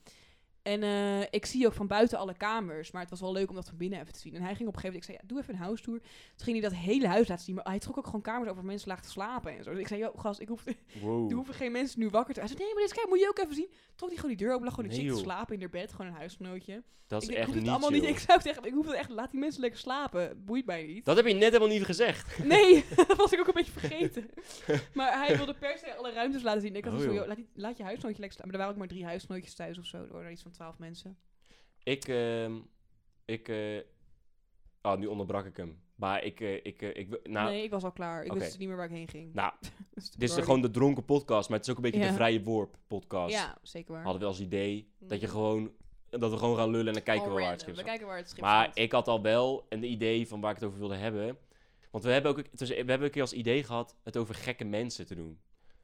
A: En eh, ik zie ook van buiten alle kamers. Maar het was wel leuk om dat van binnen even te zien. En hij ging op een gegeven moment... Ik zei, ja, doe even een house tour. Toen ging hij dat hele huis laten zien. Maar hij trok ook gewoon kamers over waar mensen lagen te slapen en zo. Dus ik zei, joh, gast, ik hoef,
B: Wow.
A: er hoeven geen mensen nu wakker te Hij zei, nee, maar dit is kijk, moet je ook even zien. Trok die gewoon die deur open, lag gewoon een
B: Nee,
A: chick te
B: joh.
A: slapen in haar bed. Gewoon een huisgenootje.
B: Dat is
A: ik denk, ik
B: echt
A: hoef het
B: niet,
A: allemaal niet.
B: chill.
A: Ik zou het echt, ik hoef het echt, laat die mensen lekker slapen. Boeit mij niet.
B: Dat heb je net helemaal niet gezegd.
A: Nee, dat was ik ook een beetje vergeten. maar hij wilde per se alle ruimtes laten zien. Ik had
B: Oh,
A: zoiets van,
B: joh.
A: joh, laat, die- laat je huisgenootje lekker slapen. Maar er waren ook maar drie huisgenootjes thuis of zo. Er waren iets van twaalf mensen.
B: Ik, ehm, ik, eh, oh, nu onderbrak ik hem. Maar ik, eh, ik, eh, ik, nou,
A: nee, ik was al klaar. Ik
B: oké.
A: wist niet meer waar ik heen ging.
B: Nou,
A: Dus toen
B: dit is
A: door-
B: gewoon de dronken podcast, maar het is ook een beetje
A: Ja.
B: de vrije worp podcast.
A: Ja, zeker waar.
B: Hadden we als idee dat je
A: Mm.
B: gewoon, dat we gewoon gaan lullen en dan kijken
A: All
B: we wel waar het
A: random.
B: schip
A: We
B: staat.
A: kijken waar het schip
B: Maar
A: staat.
B: ik had al wel een idee van waar ik het over wilde hebben. Want we hebben ook, het was- we hebben een keer als idee gehad het over gekke mensen te doen.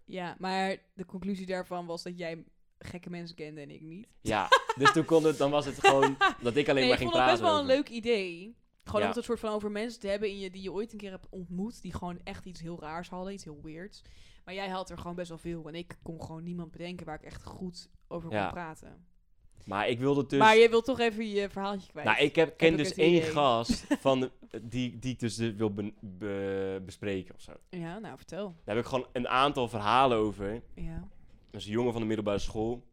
A: Ja, maar de conclusie daarvan was dat jij gekke mensen kende en ik niet.
B: Ja, dus toen kon het, dan was het gewoon dat ik
A: Nee, ik
B: alleen maar ging
A: vond het
B: praten.
A: best wel een
B: over-
A: leuk idee. Gewoon
B: Ja.
A: om het een soort van over mensen te hebben in je, die je ooit een keer hebt ontmoet. Die gewoon echt iets heel raars hadden, iets heel weirds. Maar jij had er gewoon best wel veel. En ik kon gewoon niemand bedenken waar ik echt goed over
B: Ja.
A: kon praten.
B: Maar ik wilde dus...
A: Maar je wilt toch even je verhaaltje kwijt.
B: Nou, ik heb, ken
A: ook
B: dus
A: het
B: één
A: idee.
B: gast van de- die, die ik dus eh, wil ben- be- bespreken of zo.
A: Ja, nou vertel.
B: Daar heb ik gewoon een aantal verhalen over.
A: Ja.
B: Dat is een jongen van de middelbare school.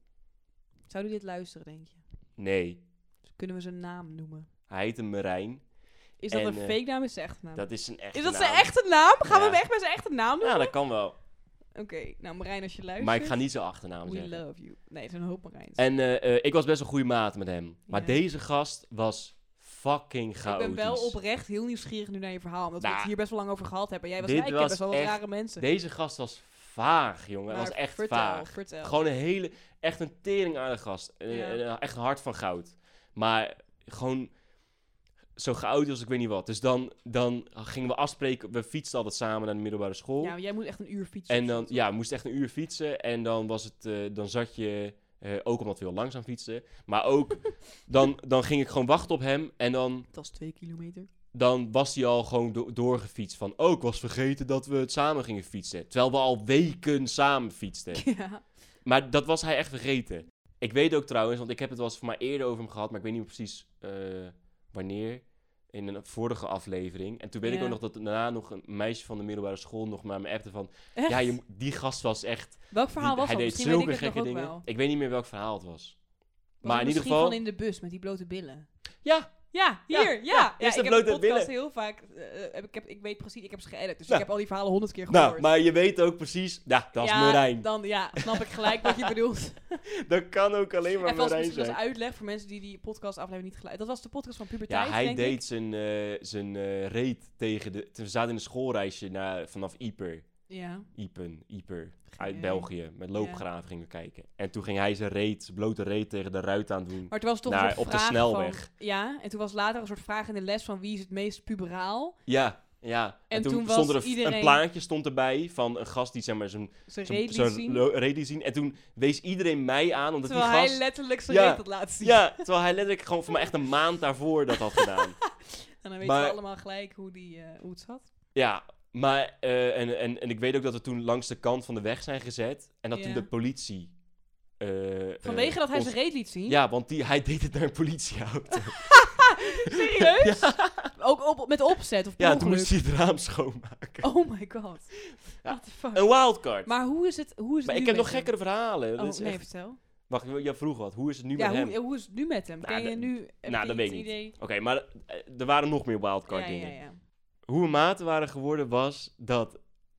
A: Zouden die dit luisteren, denk je?
B: Nee,
A: Dus kunnen we zijn naam noemen?
B: hij heette Merijn.
A: Is dat
B: En,
A: een
B: eh,
A: fake naam? Is zijn echte naam?
B: Dat is een echte
A: is dat zijn
B: naam.
A: echte naam? Gaan we
B: Ja.
A: hem echt bij zijn echte naam doen?
B: Ja, dat kan wel.
A: Oké, nou Marijn, als je luistert.
B: Maar ik ga niet zijn achternaam
A: We
B: zeggen.
A: love you. Nee, het is een hoop Marijns.
B: En eh, eh, ik was best een goede maat met hem. Maar
A: Ja.
B: deze gast was fucking
A: Ik
B: chaotisch.
A: ben wel oprecht heel nieuwsgierig nu naar je verhaal. Omdat we
B: Nou,
A: het hier best wel lang over gehad hebben. Jij was
B: dit
A: rijk, ik heb
B: was
A: best wel wat
B: echt-
A: rare mensen.
B: Deze gast was vaag, jongen. Hij
A: Maar
B: was echt
A: vertel,
B: vaag.
A: Vertel.
B: Gewoon een hele, echt een tering aan de gast. Een-
A: Ja.
B: een- echt een hart van goud. Maar gewoon zo geout als ik weet niet wat. Dus dan, dan gingen we afspreken. We fietsten altijd samen naar de middelbare school.
A: Ja, maar jij moet echt een uur fietsen.
B: en
A: of
B: dan,
A: zo.
B: ja, we moesten echt een uur fietsen. En dan was het, eh, dan zat je, eh, ook omdat we heel langzaam fietsten. Maar ook, dan, dan ging ik gewoon wachten op hem. En dan,
A: Dat is twee kilometer.
B: dan was hij al gewoon do- doorgefietst. Van, oh, ik was vergeten dat we het samen gingen fietsen. Terwijl we al weken samen fietsten.
A: Ja.
B: Maar dat was hij echt vergeten. Ik weet ook trouwens, want ik heb het wel eens voor mij eerder over hem gehad, maar ik weet niet meer precies eh, wanneer. In een vorige aflevering. En toen weet ik
A: Ja.
B: ook nog dat daarna nog een meisje van de middelbare school nog naar me appte van...
A: Echt?
B: Ja, je, moet- die gast was echt...
A: Welk verhaal
B: die-
A: was
B: hij
A: dat?
B: deed
A: Misschien weet
B: zulke
A: ik het
B: gekke
A: nog ook
B: dingen.
A: wel. Was
B: Ik weet niet meer welk verhaal het was.
A: het
B: maar in ieder
A: misschien
B: geval...
A: van in de bus met die blote billen.
B: Ja,
A: Ja,
B: Ja,
A: hier, ja.
B: ja. Eerst de
A: ik heb
B: blote
A: de podcast
B: billen.
A: heel vaak... eh, heb ik, heb, ik weet precies, ik heb ze geëdit. Dus
B: Nou.
A: ik heb al die verhalen honderd keer gehoord.
B: nou, maar je weet ook precies... Ja, dat is
A: ja,
B: Merijn. Dat...
A: Dan, ja, snap ik gelijk wat je bedoelt.
B: kan ook alleen maar
A: En vast
B: Merijn
A: misschien als
B: zijn.
A: uitleg voor mensen die die podcast aflevering niet geluisterd. Dat was de podcast van puberteit,
B: Ja, hij
A: denk ik.
B: deed zijn, eh, zijn eh, reet tegen de... We zaten in een schoolreisje naar, vanaf Ieper.
A: Ja.
B: Iepen, Ieper,
A: Geen
B: uit
A: idee.
B: België. Met loopgraven gingen we kijken. En toen ging hij zijn reet, zijn blote reet tegen de ruit aan doen.
A: Maar toen was toch
B: Daar,
A: een soort
B: op de
A: vraag
B: snelweg.
A: Van, ja, en toen was later een soort vraag in de les van wie is het meest puberaal.
B: Ja, ja. En,
A: En
B: toen,
A: toen
B: stond
A: was
B: er een, f-
A: iedereen-
B: een plaatje stond erbij van een gast die zeg maar zijn,
A: Zijn
B: zijn,
A: reet
B: zijn
A: liet zien.
B: lo- reet liet zien. En toen wees iedereen mij aan, omdat
A: Terwijl
B: die
A: hij
B: gast...
A: letterlijk zijn
B: Ja.
A: reet had laten zien.
B: ja, terwijl hij letterlijk gewoon voor mij echt een maand daarvoor dat had gedaan.
A: En dan weten
B: Maar-
A: we allemaal gelijk hoe, die, eh, hoe het zat.
B: ja, Maar, eh, en, en, en ik weet ook dat we toen langs de kant van de weg zijn gezet. En dat
A: Ja.
B: toen de politie... eh,
A: Vanwege
B: eh,
A: dat hij
B: ons-
A: zijn reet liet zien. Ah,
B: Ja, want die, hij deed het naar een politieauto.
A: Serieus? Ook op, met opzet of per
B: ja, toen
A: ongeluk?
B: moest hij het raam schoonmaken.
A: Oh my god.
B: Ja.
A: What the fuck.
B: Een wildcard. Maar,
A: Maar hoe is het, hoe is het nu
B: ik heb
A: met
B: nog
A: hem?
B: gekkere verhalen.
A: Oh,
B: dat is
A: nee,
B: echt...
A: vertel.
B: Wacht, jij vroeg wat. Hoe is het nu met
A: ja,
B: hem?
A: hoe, hoe is het nu met hem?
B: Nou,
A: Ken je
B: dat-
A: nu... heb
B: nou,
A: je
B: dat weet
A: iets
B: ik niet.
A: idee?
B: Oké, maar eh, er waren nog meer wildcard
A: Ja,
B: dingen.
A: ja, ja.
B: Hoe we maten waren geworden was dat...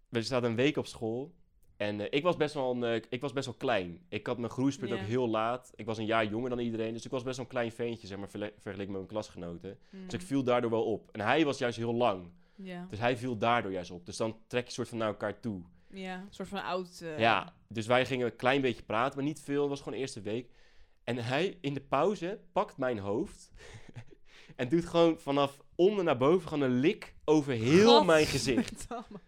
B: We zaten een week op school. En eh, ik, was best wel een, eh, ik was best wel klein. Ik had mijn groeispurt
A: Ja.
B: ook heel laat. Ik was een jaar jonger dan iedereen. Dus ik was best wel een klein veentje, zeg maar, verle- vergeleken met mijn klasgenoten.
A: Hmm.
B: Dus ik viel daardoor wel op. En hij was juist heel lang.
A: Mm, Ja,
B: Dus hij viel daardoor juist op. Dus dan trek je soort van naar elkaar toe.
A: ja. Een soort van oud... eh,
B: Ja, dus wij gingen een klein beetje praten, maar niet veel. Het was gewoon de eerste week. En hij in de pauze pakt mijn hoofd en doet gewoon vanaf onder naar boven gewoon een lik over heel mijn gezicht.
A: Godverdamme.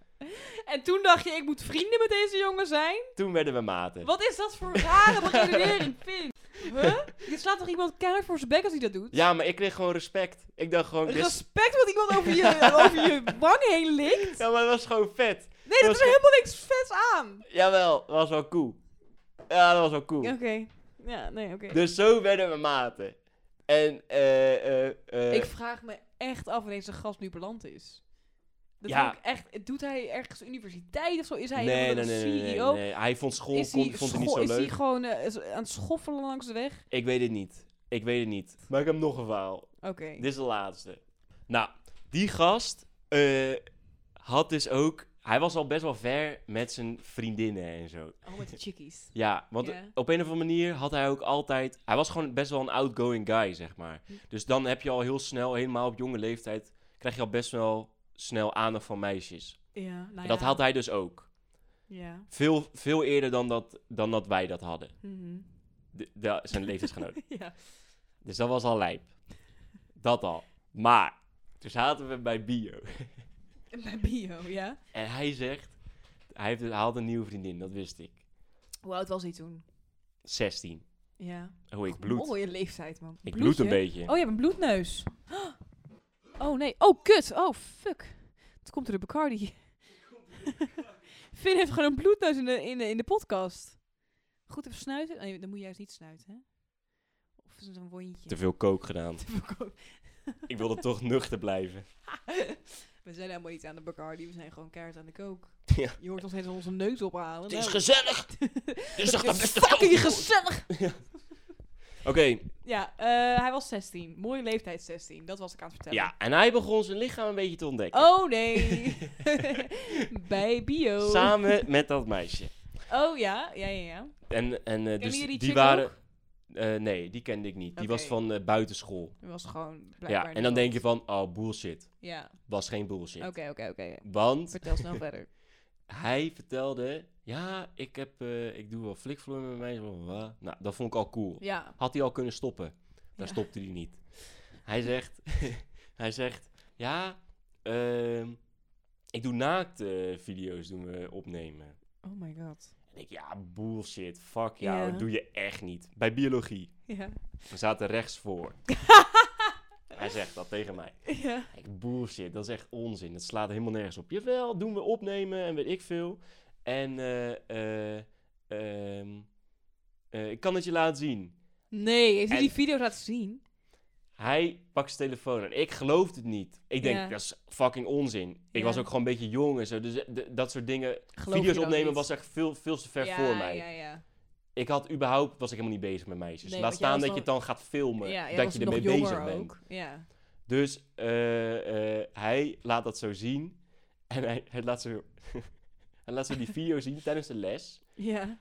A: En toen dacht je, ik moet vrienden met deze jongen zijn?
B: Toen werden we maten.
A: Wat is dat voor rare beredenering, Pin? Huh? Je slaat toch iemand keihard voor zijn bek als hij dat doet?
B: Ja, maar ik kreeg gewoon respect. Ik dacht gewoon... dit is-
A: Respect wat iemand over je, over je wang heen likt?
B: Ja, maar het was gewoon vet.
A: Nee, dat is er helemaal niks vets aan.
B: Jawel, dat was wel cool. Ja, dat was wel cool.
A: Oké. Ja, nee, oké.
B: Dus zo werden we maten. En, eh, eh, eh,
A: Ik vraag me echt af wanneer zijn gast nu beland is. Dat
B: Ja.
A: vind ik echt... Doet hij ergens universiteit of zo? Is hij
B: nee,
A: helemaal
B: nee,
A: een
B: nee, nee, nee,
A: CEO?
B: nee. Hij vond school
A: E Is
B: kon-
A: hij,
B: vond het niet
A: scho-
B: zo
A: is hij
B: leuk.
A: gewoon eh, is- aan het schoffelen langs de weg?
B: Ik weet het niet. Ik weet het niet. Maar ik heb nog een verhaal.
A: Oké.
B: Dit is de laatste. Nou, die gast eh, had dus ook... Hij was al best wel ver met zijn vriendinnen en zo.
A: Oh, met de chickies.
B: Ja, want
A: Ja.
B: op een of andere manier had hij ook altijd... Hij was gewoon best wel een outgoing guy, zeg maar.
A: Hm.
B: Dus dan heb je al heel snel, helemaal op jonge leeftijd... krijg je al best wel snel aandacht van meisjes.
A: Ja, nou
B: En dat
A: ja.
B: had hij dus ook.
A: Ja.
B: Veel, veel eerder dan dat, dan dat wij dat hadden.
A: Mhm.
B: De- de- zijn leeftijdsgenoten.
A: ja.
B: Dus dat was al lijp. Dat al. Maar, toen zaten we bij bio.
A: En Bij bio, ja.
B: En hij zegt, hij, heeft, hij had een nieuwe vriendin, dat wist ik.
A: Hoe oud was hij toen?
B: 16.
A: Ja.
B: Oh, ik bloed.
A: Mooie leeftijd, man.
B: ik bloed
A: Bloedje?
B: een beetje.
A: Oh, je hebt een bloedneus. Oh, nee. Oh, kut. Oh, fuck. Het komt er de Bacardi. Finn heeft gewoon een bloedneus in de, in de, in de podcast. Goed even snuiten. Oh, Nee, dan moet je juist niet snuiten, hè? Of is het een wondje?
B: Te veel kook gedaan.
A: Te veel ko-
B: ik wilde toch nuchter blijven.
A: We zijn helemaal niet aan de Bacardi. We zijn gewoon keihard aan de kook.
B: Ja.
A: Je hoort ons steeds onze neus ophalen.
B: Het is
A: Nou,
B: gezellig!
A: het
B: Dus toch de
A: is
B: beste
A: fucking
B: kook.
A: gezellig.
B: Oké,
A: Ja, eh, hij was 16. Mooie leeftijd 16. Dat was ik aan het vertellen.
B: ja. En hij begon zijn lichaam een beetje te ontdekken.
A: Oh nee. Bij bio.
B: Samen met dat meisje.
A: Oh ja, ja, ja, ja.
B: En, en eh, dus
A: jullie die
B: die
A: chick
B: waren... Eh, nee, die kende ik niet. Die
A: Oké.
B: was van eh, buitenschool.
A: Dat was gewoon blijkbaar
B: Ja, en dan
A: niemand.
B: denk je van, oh, bullshit.
A: Ja,
B: Was geen bullshit.
A: oké, oké, oké.
B: Want
A: Vertel snel verder.
B: hij vertelde, ja, ik, heb, eh, ik doe wel flikvloer met mij. bla, bla, bla. Nou, dat vond ik al cool.
A: Ja.
B: Had hij al kunnen stoppen. Daar
A: Ja.
B: stopte hij niet. Hij zegt, hij zegt ja, ehm, ik doe naakte video's doen we opnemen.
A: Oh my god.
B: En ik, ja, bullshit, fuck jou,
A: Ja.
B: dat doe je echt niet. Bij biologie.
A: Ja.
B: We zaten rechts voor. hij zegt dat tegen mij.
A: Ja.
B: Ik, bullshit, dat is echt onzin. Dat slaat helemaal nergens op. Jawel, doen we opnemen en weet ik veel. En eh, eh, ehm, eh, ik kan het je laten zien.
A: Nee, heeft hij
B: En-
A: die video's laten zien?
B: Hij pakt zijn telefoon en ik geloofde het niet. Ik denk,
A: Ja.
B: dat is fucking onzin. Ik
A: Ja.
B: was ook gewoon een beetje jong en zo. Dus eh, d- dat soort dingen.
A: Geloof je
B: video's
A: dan
B: opnemen
A: niet?
B: was echt veel, veel te ver
A: ja,
B: voor mij.
A: Ja, ja,
B: Ik had überhaupt, was ik helemaal niet bezig met meisjes.
A: Nee,
B: Laat
A: want jij
B: staan
A: was
B: dat je het dan gaat filmen.
A: ja. jij
B: eh, dat
A: was
B: je
A: nog
B: ermee
A: jonger
B: bezig bent.
A: ook. Ja.
B: Dus eh, eh, hij laat dat zo zien. En hij, hij, laat zo, hij laat zo die video zien tijdens de les.
A: Ja.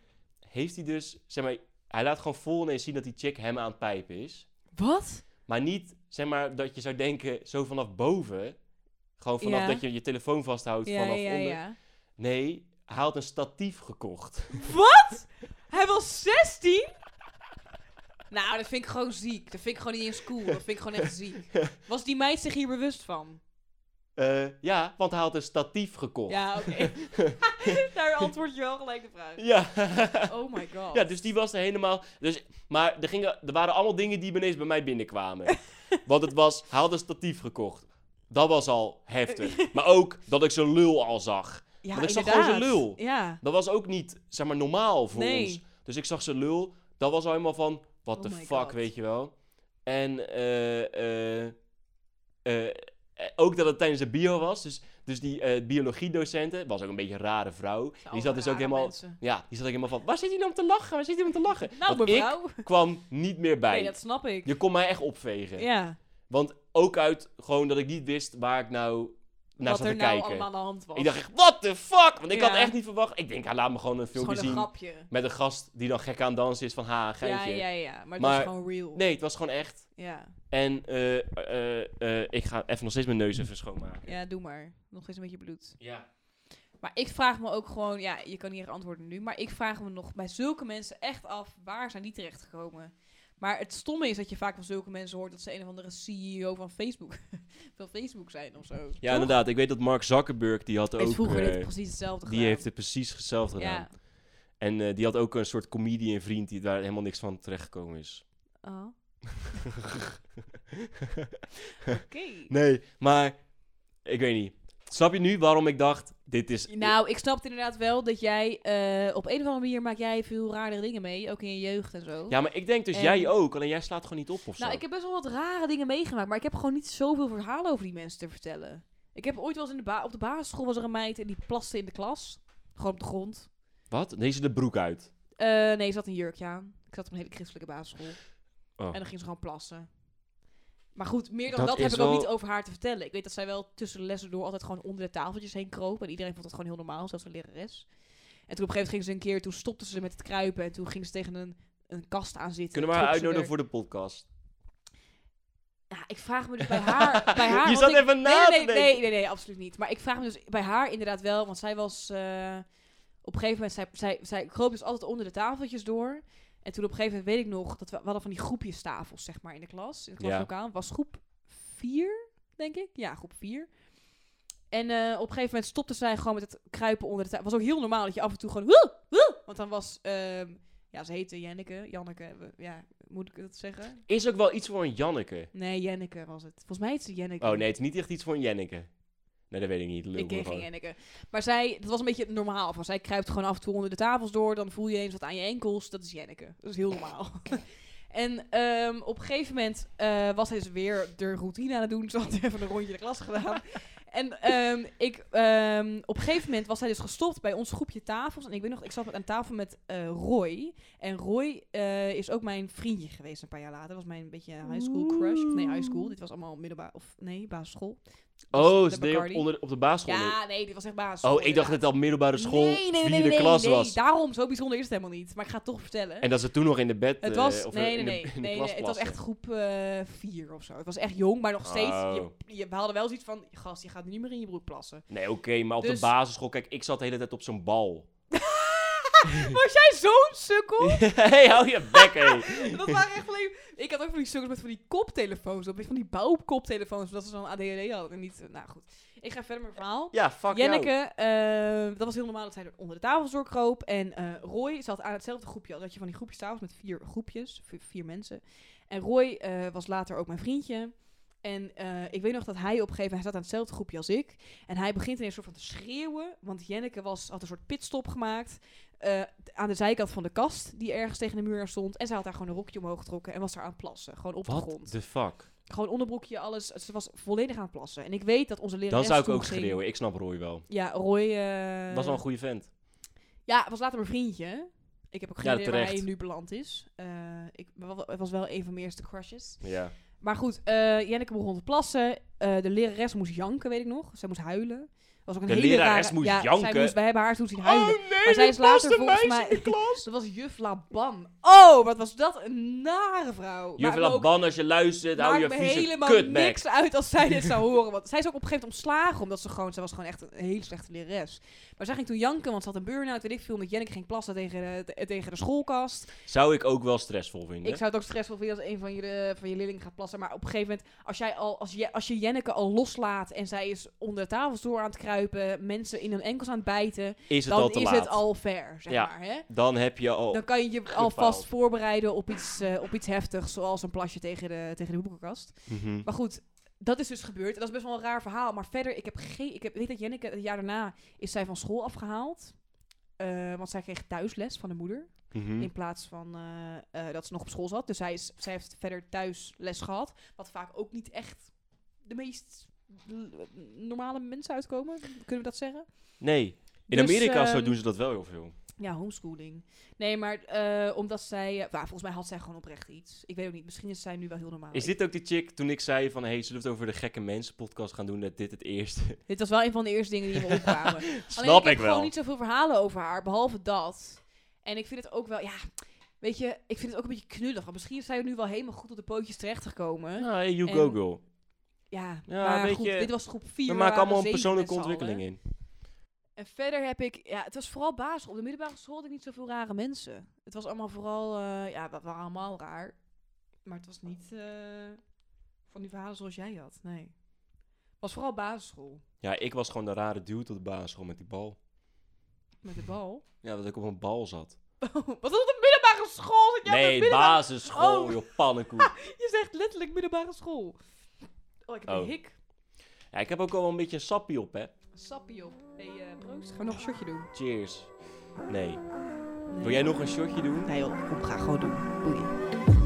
B: Heeft hij dus, zeg maar, hij laat gewoon vol ineens zien dat die chick hem aan het pijpen is.
A: Wat?
B: Maar niet, zeg maar, dat je zou denken, zo vanaf boven. Gewoon vanaf
A: Ja.
B: dat je je telefoon vasthoudt
A: Ja,
B: vanaf
A: ja,
B: onder.
A: ja.
B: Nee, hij had een statief gekocht.
A: Wat? Hij was 16? Nou, dat vind ik gewoon ziek. Dat vind ik gewoon niet eens cool. Dat vind ik gewoon echt ziek. Was die meid zich hier bewust van?
B: Eh, ja, want hij had een statief gekocht.
A: Ja, oké. Daar antwoord je wel gelijk de vraag.
B: Ja.
A: Oh my god.
B: Ja, dus die was er helemaal. Dus, maar er, gingen, er waren allemaal dingen die ineens bij mij binnenkwamen. Want het was, hij had een statief gekocht. Dat was al heftig. maar ook dat ik zo'n lul al zag.
A: Ja,
B: Want ik zag
A: inderdaad.
B: gewoon zijn lul.
A: Ja.
B: Dat was ook niet, zeg maar, normaal voor
A: Nee.
B: ons. Dus ik zag zijn lul. Dat was al helemaal van, what
A: Oh
B: the
A: my
B: fuck,
A: God.
B: weet je wel. En eh, eh, eh, eh, ook dat het tijdens de bio was. Dus, dus die eh biologiedocenten, was ook een beetje een rare vrouw. die zat dus
A: Oh,
B: ook
A: Rare
B: helemaal...
A: mensen.
B: Ja, die zat ook helemaal van, waar zit hij nou om te lachen? Waar zit hij om te lachen?
A: Nou,
B: Want ik
A: mevrouw.
B: kwam niet meer bij.
A: Nee, dat snap ik.
B: Je kon mij echt opvegen.
A: Ja.
B: Want ook uit gewoon dat ik niet wist waar ik nou naar
A: Wat
B: zat
A: er
B: te
A: nou
B: kijken.
A: allemaal aan de hand was.
B: Ik dacht echt, what the fuck? Want ik
A: Ja.
B: had echt niet verwacht. Ik denk, hij laat me gewoon een
A: het is
B: filmpje
A: gewoon een
B: zien.
A: grapje.
B: Met een gast die dan gek aan het dansen is van, ha,
A: Ja,
B: geintje.
A: ja, ja. Maar het
B: Maar-
A: is gewoon real.
B: Nee, het was gewoon echt.
A: Ja.
B: En eh, eh, eh, ik ga even nog steeds mijn neus even schoonmaken.
A: ja, doe maar. Nog eens een beetje bloed.
B: Ja.
A: Maar ik vraag me ook gewoon... Ja, je kan niet echt antwoorden nu. Maar ik vraag me nog bij zulke mensen echt af... Waar zijn die terechtgekomen? Maar het stomme is dat je vaak van zulke mensen hoort... dat ze een of andere CEO van Facebook, van Facebook zijn of zo.
B: Ja, inderdaad. Ik weet dat Mark Zuckerberg, die had
A: Heeft
B: ook...
A: vroeger
B: eh,
A: dit precies hetzelfde
B: die
A: gedaan.
B: heeft het precies hetzelfde gedaan.
A: Ja.
B: En eh, die had ook een soort comedian vriend die daar helemaal niks van terechtgekomen is.
A: Oh, Oké.
B: nee, maar ik weet niet. Snap je nu waarom ik dacht, dit is...
A: Nou, ik snap het inderdaad wel dat jij eh, op een of andere manier maak jij veel rare dingen mee, ook in je jeugd en zo.
B: Ja, maar ik denk dus
A: En-
B: jij ook, alleen jij slaat gewoon niet op of zo.
A: nou, ik heb best wel wat rare dingen meegemaakt, maar ik heb gewoon niet zoveel verhalen over die mensen te vertellen. Ik heb ooit wel eens in de ba- op de basisschool was er een meid en die plaste in de klas, gewoon op de grond.
B: Wat? Deze de broek uit.
A: Eh, nee, ze had een jurkje aan. Ik zat op een hele christelijke basisschool.
B: Oh.
A: En dan ging ze gewoon plassen. Maar goed, meer dan
B: Dat
A: dat, heb
B: is
A: ik ook
B: wel-
A: niet over haar te vertellen. Ik weet dat zij wel tussen de lessen door altijd gewoon onder de tafeltjes heen kroop. En iedereen vond dat gewoon heel normaal, zelfs de lerares. En toen op een gegeven moment ging ze een keer, toen stopte ze met het kruipen. En toen ging ze tegen een, een kast aan zitten.
B: Kunnen we haar
A: Trok ze
B: uitnodigen
A: er-
B: voor de podcast?
A: Ja, ik vraag me dus bij haar... bij haar
B: je
A: want
B: zat
A: ik-
B: even na
A: nee,
B: te
A: nee,
B: denken.
A: nee, nee, nee, absoluut niet. Maar ik vraag me dus bij haar inderdaad wel, want zij was eh, op een gegeven moment, zij, zij, zij kroop dus altijd onder de tafeltjes door. En toen op een gegeven moment weet ik nog dat we, we hadden van die groepjes tafels, zeg maar, in de klas, in het
B: Ja.
A: klaslokaal. Was groep 4, denk ik. Ja, groep 4. En eh, op een gegeven moment stopte zij gewoon met het kruipen onder de tafel. was ook heel normaal dat je af en toe gewoon... "Huh, huh," want dan was... ehm, ja, ze heette Janneke. Janneke, we- ja, moet ik dat zeggen?
B: Is ook wel iets voor een Janneke.
A: Nee, Janneke was het. Volgens mij heet ze Janneke.
B: Oh nee, het is niet echt iets voor een Janneke. Nee, dat weet ik niet. Lul
A: Ik eh,
B: me
A: ken
B: gewoon.
A: geen Janneke. Maar zij, dat was een beetje normaal. Van, zij kruipt gewoon af en toe onder de tafels door. Dan voel je eens wat aan je enkels. Dat is Jenneke. Dat is heel normaal. en ehm, op een gegeven moment eh, was hij dus weer de routine aan het doen. Ze had even een rondje de klas gedaan. En ehm, ik, ehm, op een gegeven moment was hij dus gestopt bij ons groepje tafels. En ik weet nog, ik zat aan tafel met eh, Roy. En Roy eh, is ook mijn vriendje geweest een paar jaar later. Dat was mijn een beetje high school crush. Of nee, high school. Dit was allemaal middelbaar, of nee, basisschool. Dus
B: Oh,
A: de
B: ze deed op,
A: Bacardi.
B: onder, op de basisschool. onder-
A: Ja, nee, dit was echt baas.
B: oh, ik dacht dat het al middelbare school
A: nee, nee, nee,
B: vierde
A: nee,
B: klas
A: nee,
B: was.
A: Daarom, zo bijzonder is het helemaal niet. Maar ik ga het toch vertellen.
B: En dat ze toen nog in de bed...
A: het
B: eh,
A: was,
B: of
A: nee, nee,
B: in de-
A: nee,
B: in de
A: nee,
B: klas
A: nee, het was
B: plaste.
A: echt groep 4 of zo. Het was echt jong, maar nog steeds.
B: Oh.
A: Je, je, we hadden wel zoiets van, gast, je gaat nu niet meer in je broek plassen.
B: Nee, oké, maar op de
A: Dus-
B: basisschool... Kijk, ik zat de hele tijd op zo'n bal.
A: Was jij zo'n sukkel?
B: hey, hou je bek, hé.
A: dat waren echt alleen... Ik had ook van die sukkels met van die koptelefoons op. Van die bouwkoptelefoons, omdat ze zo'n ADHD hadden. En niet, nou goed. Ik ga verder met mijn verhaal.
B: Ja, fuck jou.
A: Jenneke, eh, dat was heel normaal dat zij er onder de tafels doorkroop. En eh, Roy zat aan hetzelfde groepje. als Dat je van die groepjes tafels met vier groepjes, vi- vier mensen. En Roy eh, was later ook mijn vriendje. En eh, ik weet nog dat hij op een gegeven moment, hij zat aan hetzelfde groepje als ik. En hij begint ineens soort van te schreeuwen. Want Jenneke was, had een soort pitstop gemaakt. eh, t- aan de zijkant van de kast, die ergens tegen de muur aan stond. En zij had daar gewoon een rokje omhoog getrokken en was daar aan het plassen. Gewoon op de
B: What
A: grond.
B: the fuck?
A: Gewoon onderbroekje, alles. Ze was volledig aan het plassen. En ik weet dat onze lerares
B: Dan zou ik
A: toen
B: ook
A: ging-
B: schreeuwen. Ik snap Roy wel.
A: ja, Roy... eh,
B: Was wel een goede vent.
A: Ja, was later mijn vriendje. Ik heb ook geen
B: Ja,
A: idee waar hij
B: terecht.
A: nu beland is. Eh, ik wa- wa- was wel een van mijn eerste crushes.
B: Ja.
A: Maar goed, eh Jenneke begon te plassen. Eh, de lerares moest janken, weet ik nog. Zij moest huilen. Was ook een
B: De
A: hele
B: lerares
A: rare-
B: moest
A: ja, Zij
B: janken? Oh,
A: moest, wij hebben haar toen zien huilen.
B: nee,
A: maar zij is later volgens mij... Dat was juf Laban. Oh, wat was dat een nare vrouw.
B: Juf
A: Maar ook-
B: Laban, als je luistert, hou je
A: maakt me
B: vieze
A: helemaal
B: kutbek.
A: niks uit als zij dit zou horen. Want zij is ook op een gegeven moment ontslagen. Omdat ze gewoon... Zij was gewoon echt een hele slechte lerares. Maar zij ging toen janken, want ze had een burn-out. Weet ik veel. Omdat Jenneke ging plassen tegen de, te- tegen de schoolkast.
B: Zou ik ook wel stressvol vinden.
A: Ik zou het ook stressvol vinden als een van je, eh, van je leerlingen gaat plassen. Maar op een gegeven moment... Als, jij al, als, je, als je Jenneke al loslaat... En zij is onder de tafels door aan het kruipen. Mensen in hun enkels aan het bijten.
B: Is het al
A: dan
B: te
A: is
B: laat?
A: het al ver, zeg
B: Ja. Oh,
A: maar. Hè?
B: Dan heb je al...
A: Dan kan je je alvast voorbereiden op iets, eh, op iets heftigs. Zoals een plasje tegen de, tegen de boekenkast.
B: Mhm.
A: Maar goed, dat is dus gebeurd. En dat is best wel een raar verhaal. Maar verder, ik heb geen. Ik heb, weet dat Jenneke het jaar daarna is zij van school afgehaald. Eh, want zij kreeg thuisles van de moeder.
B: Mhm. Hm.
A: In plaats van eh, eh, dat ze nog op school zat. Dus zij, is, zij heeft verder thuis les gehad. Wat vaak ook niet echt de meest l- normale mensen uitkomen. Kunnen we dat zeggen?
B: Nee, in
A: Dus,
B: Amerika of zo
A: ehm,
B: doen ze dat wel heel veel.
A: Ja, homeschooling. Nee, maar eh, omdat zij... eh, nou, volgens mij had zij gewoon oprecht iets. Ik weet ook niet. Misschien is zij nu wel heel normaal.
B: Is dit ook die chick toen ik zei van... hey, zullen we het over de gekke mensen podcast gaan doen? Dat dit het eerste...
A: Dit was wel een van de eerste dingen die me opkwamen. Alleen,
B: Snap
A: ik heb
B: ik wel.
A: gewoon niet zoveel verhalen over haar, behalve dat. En ik vind het ook wel, ja, weet je, ik vind het ook een beetje knullig. Want misschien zijn we nu wel helemaal goed op de pootjes terechtgekomen.
B: Ah, hey, you
A: En-
B: go girl.
A: Ja,
B: Ja,
A: maar
B: weet
A: goed,
B: je,
A: dit was groep 4.
B: We maken allemaal een persoonlijke ontwikkeling in.
A: En verder heb ik, ja, het was vooral basisschool. Op de middelbare school had ik niet zoveel rare mensen. Het was allemaal vooral, eh, ja, dat waren allemaal raar. Maar het was niet eh, van die verhalen zoals jij had, nee. Het was vooral basisschool,
B: Ja, ik was gewoon de rare dude op de basisschool met die bal.
A: met de bal.
B: Ja, dat ik op een bal zat.
A: Wat was dat op de middelbare school? Zat jij op de
B: nee,
A: middelbare
B: basisschool,
A: Oh.
B: joh, pannenkoek.
A: Je zegt letterlijk middelbare school. Oh, ik heb een
B: Oh.
A: hik.
B: Ja, ik heb ook al wel een beetje een sappie op, hè.
A: Sappie op. Hey, eh proost. Gaan we nog een shotje doen?
B: Cheers. Nee. Wil jij nog een shotje doen?
A: Nee joh, kom, ga gewoon doen. Boeien.